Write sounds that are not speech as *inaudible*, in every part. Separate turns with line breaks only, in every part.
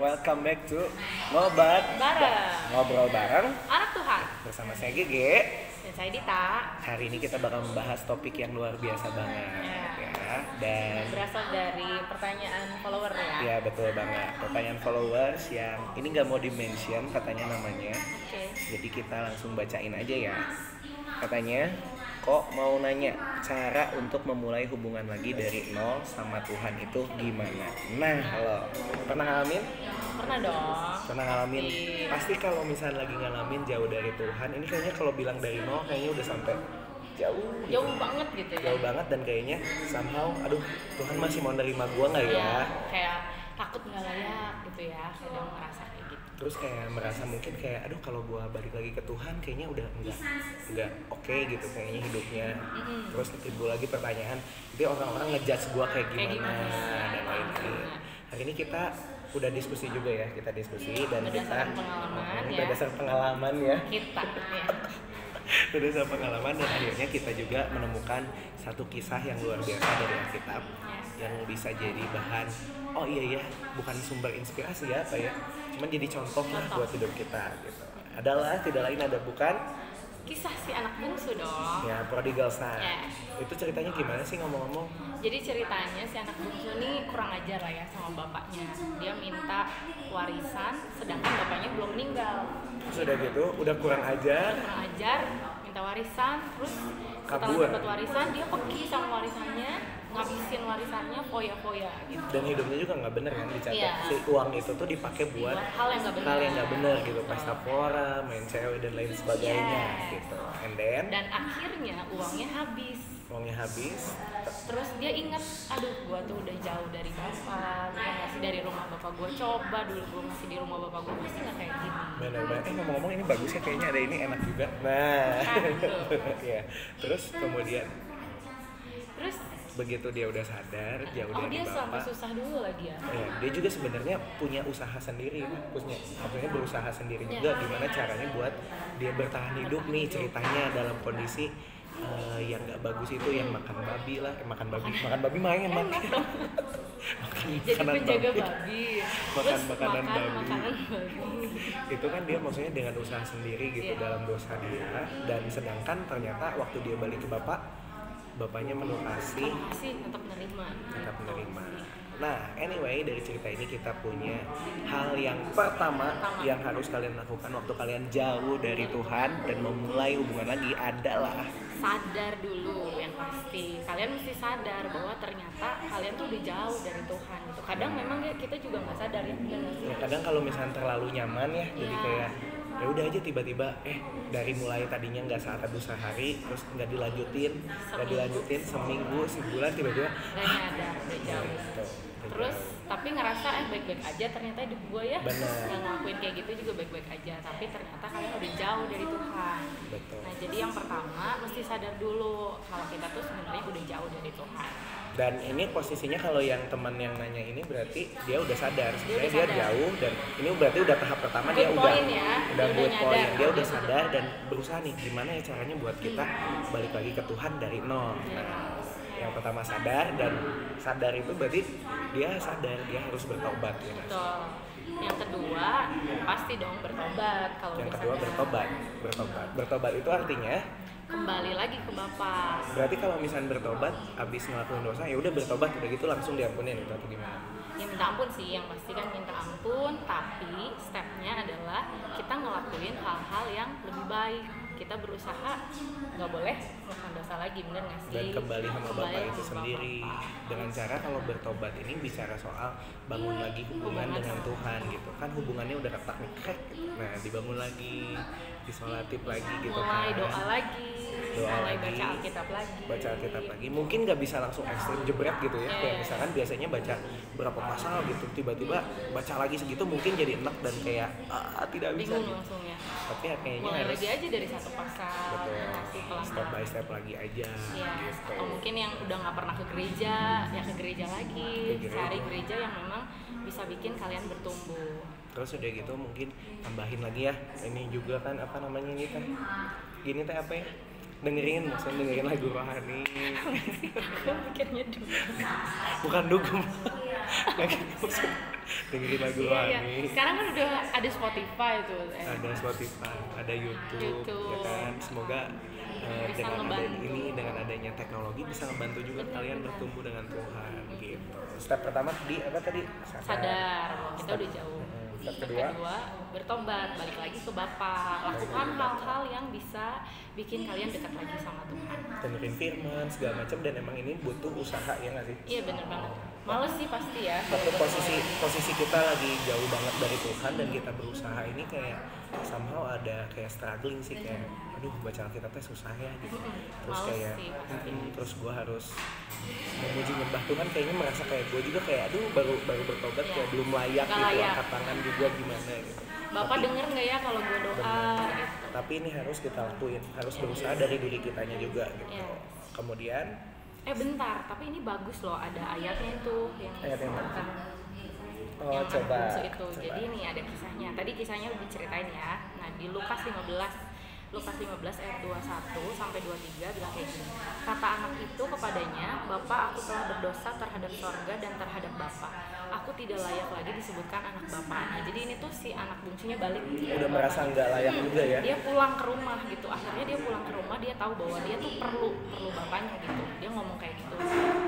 welcome back to Ngobat
Bareng
Ngobrol Bareng
Anak Tuhan
bersama saya Gege
Dan saya Dita
Hari ini kita bakal membahas topik yang luar biasa banget ya Dan
Berasal dari pertanyaan follower ya
ya betul banget pertanyaan followers yang ini nggak mau di mention katanya namanya
Oke
Jadi kita langsung bacain aja ya. Katanya, kok mau nanya cara untuk memulai hubungan lagi dari nol sama Tuhan itu gimana? Nah, lo pernah ngalamin?
Pernah dong
Pernah ngalamin? Pasti kalau misalnya lagi ngalamin jauh dari Tuhan, ini kayaknya kalau bilang dari nol kayaknya udah sampai jauh. gitu.
Jauh banget gitu ya
Jauh banget dan kayaknya somehow, aduh Tuhan masih mau nerima gua nggak
Iya,
ya?
Kayak takut nggak layak gitu ya Kadang merasa kayak gitu
terus kayak merasa mungkin kayak aduh kalau gua balik lagi ke Tuhan kayaknya udah enggak enggak oke gitu kayaknya hidupnya
Mm-mm.
terus timbul lagi pertanyaan itu orang-orang ngejudge gua kayak
Kayak
gimana,
gimana?
dan lain-lain hari ini kita udah diskusi juga ya kita diskusi dan kita
Berdasarkan pengalaman ya
berdasarkan pengalaman ya
Kita ya
berdasarkan pengalaman dan akhirnya kita juga menemukan satu kisah yang luar biasa dari Alkitab yang bisa jadi bahan oh iya ya bukan sumber inspirasi ya apa ya cuman jadi contoh lah buat hidup kita gitu adalah tidak lain ada bukan
Kisah si anak bungsu dong
ya prodigal son
Yes.
itu ceritanya gimana sih ngomong-ngomong
Jadi ceritanya si anak bungsu ini kurang ajar lah ya sama bapaknya Dia minta warisan sedangkan bapaknya belum meninggal
Terus udah gitu udah kurang ajar
kurang ajar minta warisan terus
Kabur.
setelah dapat warisan dia pergi sama warisannya ngabisin warisannya foya foya gitu
dan hidupnya juga nggak bener kan dicatat
Iya.
si uang itu tuh dipakai buat
buat hal yang nggak benar
hal yang nggak bener gitu pesta pora main cewek dan lain sebagainya
Yes.
gitu and then
Iya. dan akhirnya uangnya habis
uangnya habis
terus dia ingat aduh gua tuh udah jauh dari bapak gua masih dari rumah bapak gua coba dulu gua masih di rumah bapak gua pasti nggak kayak gini
benar-benar eh ngomong-ngomong ini bagus ya kayaknya ada ini enak juga *laughs* nah
Nah.
ya terus kemudian
terus
begitu dia Ya udah gitu, sadar jauh
oh
dari
dia sampai
bapak
susah dulu lagi ya
ya, dia juga sebenarnya punya usaha sendiri maksudnya maksudnya berusaha sendiri
Ya.
juga gimana caranya buat dia bertahan hidup nih ceritanya dalam kondisi eh, yang nggak bagus itu yang makan babi lah eh, makan babi makan babi main makan
enak dong *laughs* jadi
makanan
penjaga
babi.
babi
Makan
terus
makanan
makan
babi.
makanan babi
itu kan dia maksudnya dengan usaha sendiri gitu
Iya.
dalam dosa dia dan sedangkan ternyata waktu dia balik ke bapak bapaknya melunasi
masih tetap Gitu. menerima
tetap menerima nah anyway dari cerita ini kita punya hal yang pertama
Pertama.
yang harus kalian lakukan waktu kalian jauh dari Tuhan dan memulai hubungan lagi adalah
sadar dulu yang pasti kalian mesti sadar bahwa ternyata kalian tuh udah jauh dari Tuhan gitu kadang memang ya kita juga nggak sadar ya bener nggak sih?
ya kadang kalau misalnya terlalu nyaman ya jadi
Iya.
kayak ya udah aja tiba-tiba eh dari mulai tadinya nggak saat teduh sehari terus nggak dilanjutin nggak
Seminggu.
dilanjutin seminggu sebulan tiba-tiba
nggak nyadar udah jauh
gitu.
terus tapi ngerasa eh baik-baik aja ternyata hidup gue ya
Bener.
nggak ngelakuin kayak gitu juga baik-baik aja tapi ternyata kalian udah jauh dari Tuhan
betul
nah jadi yang pertama mesti sadar dulu kalau kita tuh sebenarnya udah jauh dari Tuhan
dan ini posisinya kalau yang teman yang nanya ini berarti dia udah sadar sebenarnya dia,
udah sadar.
jauh dan ini berarti udah tahap pertama dia
Good
udah
point ya.
udah
Dia udah
good
nyadar.
point dia udah
Dia
sadar dan berusaha nih gimana ya caranya buat kita balik lagi ke Tuhan dari nol nah, yang pertama sadar dan sadar itu berarti dia sadar dia harus bertobat ya Nas?
betul yang kedua pasti dong bertobat kalau
yang
udah
kedua
sadar.
bertobat bertobat bertobat itu artinya
kembali lagi ke bapak
berarti kalau misalnya bertobat habis ngelakuin dosa ya udah bertobat udah gitu langsung diampunin itu atau gimana
ya minta ampun sih yang pasti kan minta ampun tapi stepnya adalah kita ngelakuin hal-hal yang lebih baik kita berusaha nggak boleh melakukan dosa lagi bener nggak sih
dan kembali sama
Kembali
bapak itu
sama
sendiri
Bapak.
dengan cara kalau bertobat ini bicara soal bangun lagi hubungan
Iya, Hubungan
dengan
sama
Tuhan gitu kan hubungannya udah retak nih krek gitu. nah dibangun lagi disolatif lagi gitu
Iya, mulai
kan
doa lagi
Doa
mulai
lagi.
baca alkitab lagi
baca Alkitab lagi mungkin nggak bisa langsung ekstrim jebret gitu ya
Iya.
kayak misalkan biasanya baca berapa pasal gitu tiba-tiba baca lagi segitu mungkin jadi enak dan kayak ah, tidak bisa
bingung
gitu.
langsung ya
tapi ya kayaknya
mulai
harus
lagi aja dari satu pasal
betul
ya nggak sih,
step
pelan-pelan
by step lagi aja
Ya,
gitu
atau mungkin yang udah nggak pernah ke gereja, ya ke gereja lagi,
Ke gereja.
cari gereja yang memang bisa bikin kalian
*laughs*
bertumbuh.
terus udah gitu mungkin tambahin lagi ya ini juga kan apa namanya ini teh gini teh apa ya dengerin maksudnya dengerin lagu rohani
Gue mikirnya dulu.
bukan dugem Lagi- maksud- dengerin lagu
Iya, iya.
Rohani.
Sekarang kan udah ada Spotify tuh. eh.
ada Spotify, ada YouTube,
YouTube.
ya kan. Semoga eh,
Bisa
dengan adanya
ngebantu.
ini, dengan adanya teknologi bisa membantu juga
Benar,
kalian
benar.
bertumbuh dengan Tuhan gitu. Step pertama di apa tadi? Sadar.
sadar bahwa kita
Step-
udah jauh.
Mm, Step
Yang
kedua,
kedua, bertobat, balik lagi ke Bapa. Lakukan hal-hal yang bisa bikin kalian dekat lagi sama Tuhan.
dengerin firman segala macam dan emang ini butuh usaha ya nggak sih?
Iya bener banget. Males sih pasti ya. kalau
waktu
buat
posisi
mulai.
posisi kita lagi jauh banget dari Tuhan dan kita berusaha ini kayak somehow ada kayak struggling sih kayak aduh baca Alkitabnya susah ya gitu terus
Males
kayak
sih, pasti.
"Mm, terus gue harus memuji nyembah Tuhan kayaknya merasa kayak gue juga kayak aduh baru baru bertobat
Iya.
kayak belum layak
Nggak
gitu
layak.
angkat tangan juga gimana gitu
Bapak
Tapi-
denger nggak ya kalau gue doa?
Bener.
Gitu.
tapi ini harus kita lakuin harus berusaha dari diri kitanya juga gitu
Iya.
kemudian
Eh bentar, tapi ini bagus loh ada ayatnya tuh yang
Ayat yang mana?
tentang
oh,
yang anak
coba,
bungsu itu.
coba.
Jadi ini ada kisahnya. Tadi kisahnya udah diceritain ya. Nah, di Lukas 15 Lukas 15 ayat 21 sampai 23 bilang kayak gini. Kata anak itu kepadanya, "Bapak, aku telah berdosa terhadap sorga dan terhadap Bapak. Aku tidak layak lagi disebutkan anak Bapak." Nah, jadi ini tuh si anak bungsunya balik
udah merasa nggak layak
Hmm,
juga ya
dia pulang ke rumah gitu akhirnya dia pulang ke rumah dia tahu bahwa dia tuh perlu perlu bapaknya gitu dia ngomong kayak gitu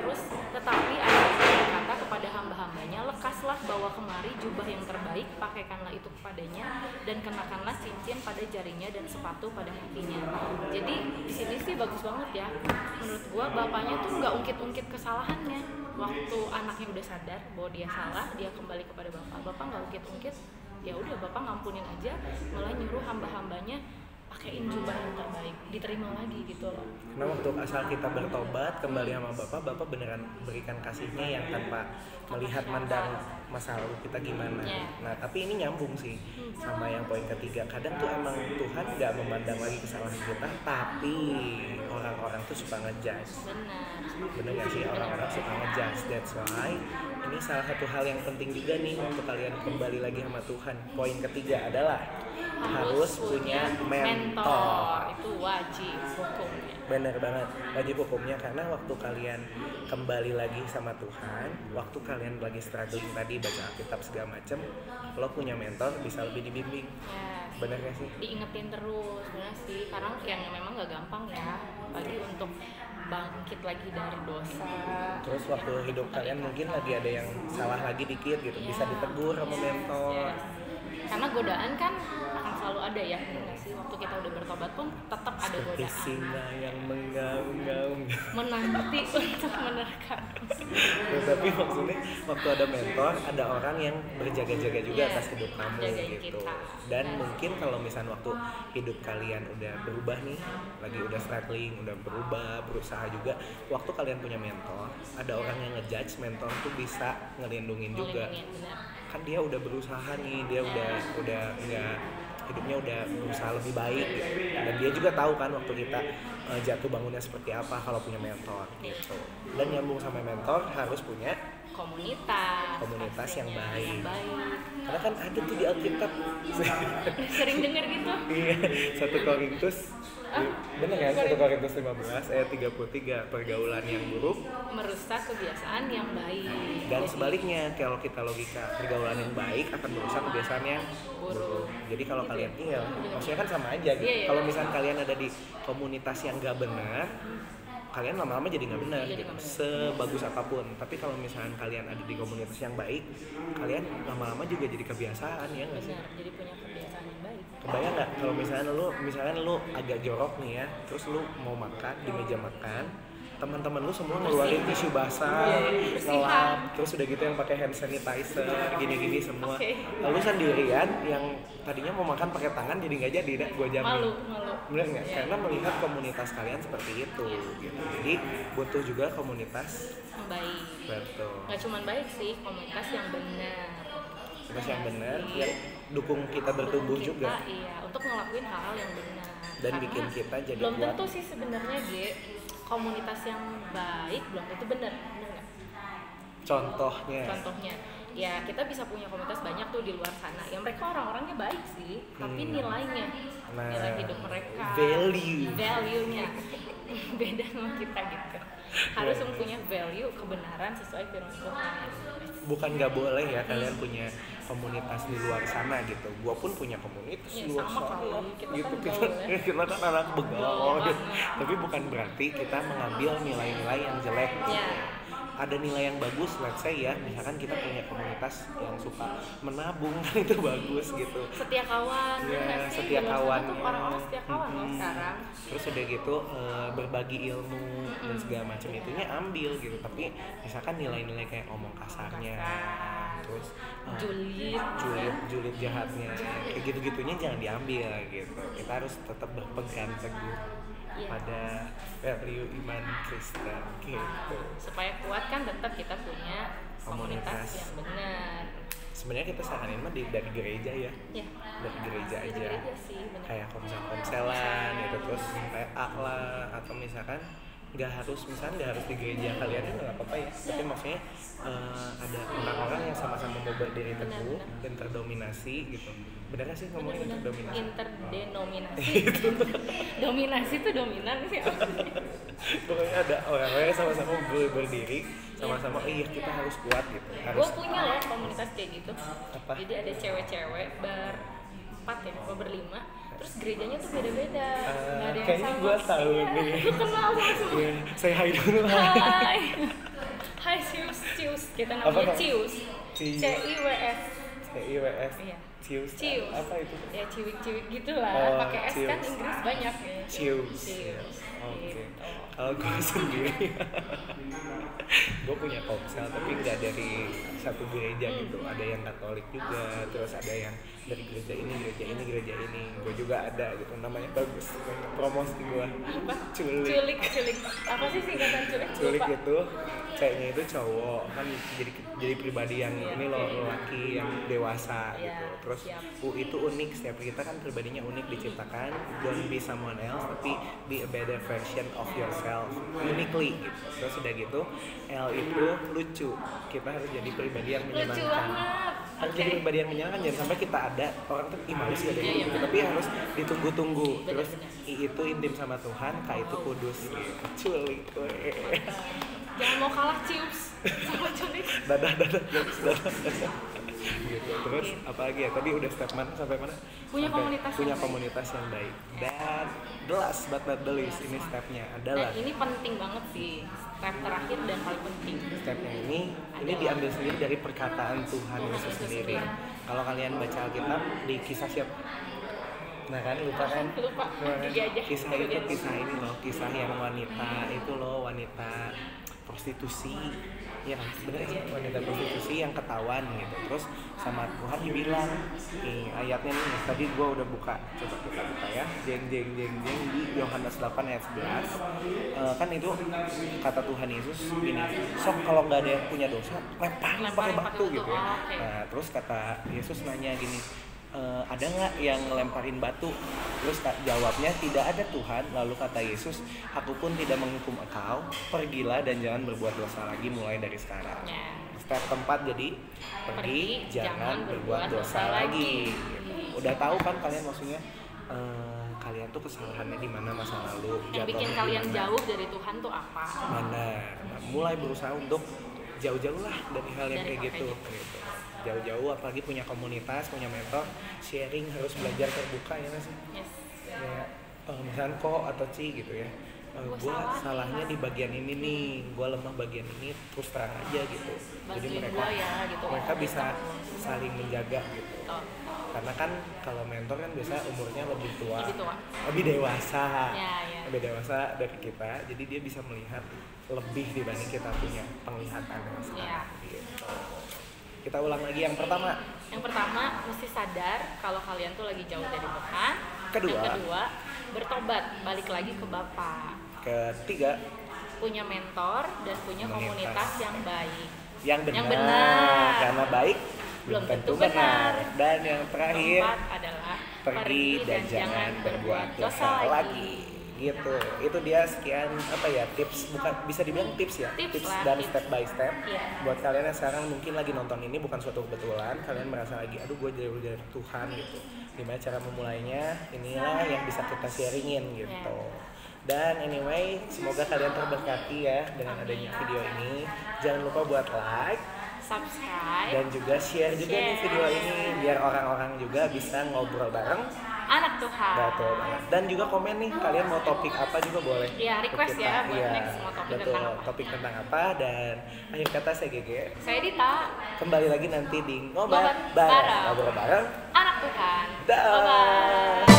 terus tetapi ada yang berkata kepada hamba-hambanya lekaslah bawa kemari jubah yang terbaik pakaikanlah itu kepadanya dan kenakanlah cincin pada jarinya dan sepatu pada kakinya jadi di sini sih bagus banget ya menurut gua bapaknya tuh nggak ungkit-ungkit kesalahannya waktu anaknya udah sadar bahwa dia salah dia kembali kepada bapak bapak nggak ungkit-ungkit ya udah bapak ngampunin aja malah nyuruh hamba-hambanya pakaiin jubah yang terbaik diterima lagi gitu loh
Karena waktu Nah, asal kita bertobat kembali sama Bapak, Bapak beneran berikan kasihnya yang tanpa melihat mandang masa lalu kita gimana.
Iya.
Nah tapi ini nyambung sih sama yang poin ketiga. Kadang tuh emang Tuhan nggak memandang lagi kesalahan kita, tapi orang-orang tuh suka ngejudge
benar
bener gak sih orang-orang suka ngejudge that's why ini salah satu hal yang penting juga nih untuk kalian kembali lagi sama Tuhan poin ketiga adalah harus punya mentor
itu wajib hukumnya
bener banget wajib hukumnya karena waktu kalian kembali lagi sama Tuhan waktu kalian lagi struggling tadi baca Alkitab segala macem lo punya mentor bisa lebih dibimbing
Yes.
bener gak sih
Ya, diingetin terus benar sih karena yang memang nggak gampang ya bagi untuk bangkit lagi dari dosa
terus waktu hidup kalian mungkin lagi ada yang salah lagi dikit gitu bisa ditegur sama
Iya. Yes,
mentor
yes. karena godaan kan akan selalu ada ya bener sih waktu kita udah bertobat pun tetap ada
seperti
godaan
singa yang menggaung-gaung
menanti *laughs* untuk menerkam
Ya, *laughs* tapi maksudnya waktu ada mentor ada orang yang berjaga-jaga juga
Iya,
atas hidup kamu
jagain
gitu
kita.
dan
Benar.
mungkin kalau misalnya waktu hidup kalian udah berubah nih lagi udah struggling udah berubah berusaha juga waktu kalian punya mentor ada orang yang ngejudge mentor tuh bisa ngelindungin juga
Ngelindungin, benar.
kan dia udah berusaha nih dia udah udah nggak hidupnya udah berusaha lebih baik gitu dan dia juga tahu kan waktu kita eh, jatuh bangunnya seperti apa kalau punya mentor gitu dan nyambung sama mentor harus punya
komunitas
Komunitas yang
pastinya,
baik.
yang baik. *laughs*
karena kan ada tuh di Alkitab *laughs*
sering dengar gitu
iya satu Korintus bener kan satu Korintus 15 ayat 33 pergaulan yang buruk
merusak kebiasaan yang baik
dan
Jadi,
sebaliknya kalau kita logika pergaulan yang baik akan merusak kebiasaan yang
buruk
Jadi kalau kalian iya, maksudnya kan sama aja gitu.
Gitu. Iya, iya.
Kalau misalnya kalian ada di komunitas yang nggak benar, kalian lama-lama jadi nggak benar
Jadi
gitu.
nggak benar.
Sebagus apapun. Tapi kalau misalnya kalian ada di komunitas yang baik, kalian lama-lama juga jadi kebiasaan ya nggak sih?
benar jadi punya kebiasaan yang baik
Kebayang nggak kalau misalnya lu, misalnya lu agak jorok nih ya, terus lu mau makan di meja makan, teman-teman lu semua ngeluarin tisu basah,
Iya, bersihan.
ngelap, terus udah gitu yang pakai hand sanitizer, gini-gini semua.
Oke.
Lalu sendirian yang tadinya mau makan pakai tangan jadi nggak jadi, dah gue jamin.
malu malu
Bener nggak?
Iya.
Karena melihat komunitas kalian seperti itu, gitu. Jadi butuh juga komunitas
yang baik
betul,
nggak cuma baik sih komunitas yang benar
terus yang benar, yang dukung kita bertumbuh
Kita,
juga.
iya untuk ngelakuin hal-hal yang benar
Dan
Karena
bikin kita jadi
belum
kuat.
tentu sih sebenarnya Ge komunitas yang baik belum tentu benar benar nggak
Contohnya,
contohnya ya kita bisa punya komunitas banyak tuh di luar sana yang mereka orang-orangnya baik sih tapi
Hmm.
nilainya
Nah,
nilai hidup mereka
value.
value-nya *laughs* beda sama kita gitu harus mempunyai value kebenaran sesuai firman Tuhan
bukan nggak boleh ya kalian
Hmm.
punya komunitas di luar sana gitu gua pun punya komunitas
Iya,
di luar sana
sama kalau kita
gitu
kan
kita,
gaul ya.
*laughs*
Iya,
kita kan anak begal
Gaul
gitu.
banget.
tapi bukan berarti kita mengambil nilai-nilai yang jelek gitu.
Iya.
ada nilai yang bagus let's say ya misalkan kita punya komunitas yang suka menabung *laughs* kan itu bagus gitu
setia kawan
Ya,
bener Iya, sih?
setia
Di luar sana
kawan
tuh orang-orang setia kawan loh
Mm-mm.
sekarang
terus udah gitu eh, berbagi ilmu dan segala macam itunya ambil gitu tapi misalkan nilai-nilai kayak omong kasarnya
Kasar.
terus eh,
julid
julid julid jahatnya kayak gitu gitunya jangan diambil gitu kita harus tetap berpegang teguh
Iya.
pada value iman Kristen gitu
supaya kuat kan tetap kita punya komunitas,
Komunitas.
yang benar
sebenarnya kita saranin mah di- dari gereja ya
ya
dari gereja
dari
aja
gereja sih benar
kayak komsel-komselan gitu terus PA lah atau misalkan nggak harus misalkan nggak harus di gereja kalian itu nggak apa-apa ya tapi maksudnya eh, ada orang-orang yang sama-sama mau berdiri teguh
Benar-benar.
dan terdominasi gitu benar nggak sih ngomongin
Benar-benar
terdominasi
interdenominasi *laughs* dominasi tuh dominan sih
*laughs* pokoknya ada orang-orang yang sama-sama ber- berdiri sama-sama iya kita harus kuat gitu harus
gue punya loh komunitas kayak gitu
Apa?
jadi ada cewek-cewek berempat ya apa berlima terus gerejanya tuh beda-beda
Eh,
nggak ada yang
kayaknya
sama
gua tahu
Iya,
nih.
lu kenal sama
*laughs*
semua.
Iya, saya hai dulu lah
*laughs* hai hai cius cius kita
Apa
namanya
kok?
cius
Cius.
c i w s
IWF
Iya.
Cius
cius
apa itu
ya ciwik-ciwik gitulah
Oh,
pakai s kan
cius.
Inggris banyak ya
Cius.
Cius.
Oke.
Gitu.
Kalau gue *laughs* sendiri, gue punya komsel tapi nggak dari satu gereja gitu. Ada yang Katolik juga, terus ada yang dari gereja ini, gereja ini, gereja ini. Gue juga ada gitu. Namanya bagus. Promosi gue. Culik.
culik culik apa sih singkatan culik
Culik gitu,
Lupa.
itu ceweknya itu cowok kan jadi jadi pribadi yang ini loh laki yang dewasa
Iya,
gitu terus
siap.
U itu unik setiap kita kan pribadinya unik diciptakan don't be someone else tapi be a better version of yourself uniquely gitu terus udah gitu L itu lucu kita harus jadi pribadi yang
lucu
menyenangkan
banget
harus jadi pribadi yang menyenangkan jangan sampai kita ada orang tuh "Ih, males gak jadi
Iya, iya,
gitu." tapi harus ditunggu-tunggu
Benar, Oh.
terus I itu intim sama Tuhan K itu kudus gitu. culik weh.
jangan mau kalah cius *laughs* sama culik
dadah dadah jokes, dadah dadah. gitu terus apalagi ya tadi udah step mana sampai mana
Punya
Sampai
komunitas
punya
yang baik.
komunitas yang baik dan the last but not the least ini stepnya adalah
dan ini penting banget sih step terakhir dan paling penting *laughs*
stepnya ini ini diambil sendiri dari perkataan Tuhan Yesus sendiri kalau kalian baca Alkitab di kisah siapa nah kan lupa kan
lupa dia aja
Nah, kisah itu kisah ini loh kisah yang wanita itu loh wanita prostitusi ya kan? bener kan? wanita prostitusi yang ketahuan gitu terus sama Tuhan dibilang nih ayatnya nih tadi gua udah buka coba kita buka ya jeng jeng jeng jeng di Yohanes 8 ayat 11 Eh, kan itu kata Tuhan Yesus gini sok kalau nggak ada yang punya dosa lemparin pakai
Lemparin pakai
batu
batu.
gitu ya
Oh, oke.
Nah, terus kata Yesus nanya gini, "E, ada nggak yang ngelemparin batu? Terus ta- jawabnya tidak ada Tuhan. Lalu kata Yesus, aku pun tidak menghukum engkau. Pergilah dan jangan berbuat dosa lagi mulai dari sekarang.
Ya.
Step keempat jadi pergi, jangan berbuat dosa lagi. Udah tahu kan kalian maksudnya? e, kalian tuh kesalahannya di mana masa lalu
yang
jatuhnya
bikin
di
kalian
mana.
jauh dari Tuhan tuh apa
Benar. Nah, mulai berusaha untuk jauh-jauh lah dari hal yang
Dari
kayak
hal
gitu.
kayak
gitu. Jauh-jauh apalagi punya komunitas, punya mentor, sharing harus belajar terbuka ya nggak sih.
yes
Kayak eh, misalkan kok atau ci gitu ya. Eh,
Gua
gua
salah.
salahnya di bagian ini nih, gua lemah bagian ini terus terang aja gitu. Jadi
bantuin
mereka
gua ya gitu
mereka bisa saling menjaga gitu.
Oh,
Karena kan kalau mentor kan biasa umurnya lebih tua,
lebih tua
lebih dewasa
ya ya
lebih dewasa dari kita jadi dia bisa melihat lebih dibanding kita punya penglihatan yang
Iya.
sekarang gitu. kita ulang lagi yang pertama
yang pertama mesti sadar kalau kalian tuh lagi jauh dari Tuhan
Kedua.
yang kedua bertobat balik lagi ke Bapak
ketiga
punya mentor dan punya
Komunitas.
komunitas yang baik
yang benar,
Yang benar.
karena baik
Belum tentu benar.
dan yang terakhir
keempat adalah
pergi dan jangan berbuat dosa lagi gitu itu dia sekian apa ya tips bukan bisa dibilang tips ya
Tips lah,
dan
tips.
step by step
Iya.
buat kalian yang sekarang mungkin lagi nonton ini bukan suatu kebetulan kalian merasa lagi aduh gue jauh dari Tuhan gitu gimana cara memulainya inilah yang bisa kita sharingin gitu Dan anyway, semoga kalian terberkati ya dengan adanya video ini. Jangan lupa buat like
subscribe
dan juga share juga nih video ini biar orang-orang juga bisa ngobrol bareng.
anak Tuhan
Betul banget. Dan juga komen nih kalian mau topik apa juga boleh.
Ah, Iya, request
Kita-
ya buat
iya,
next mau topik
betul.
tentang apa. Iya.
Topik tentang apa dan akhir kata saya GG.
saya Dita
Kembali lagi nanti di ngobat
Ngobat
bareng.
bareng.
Ngobrol bareng.
anak Tuhan
Dah.
bye bye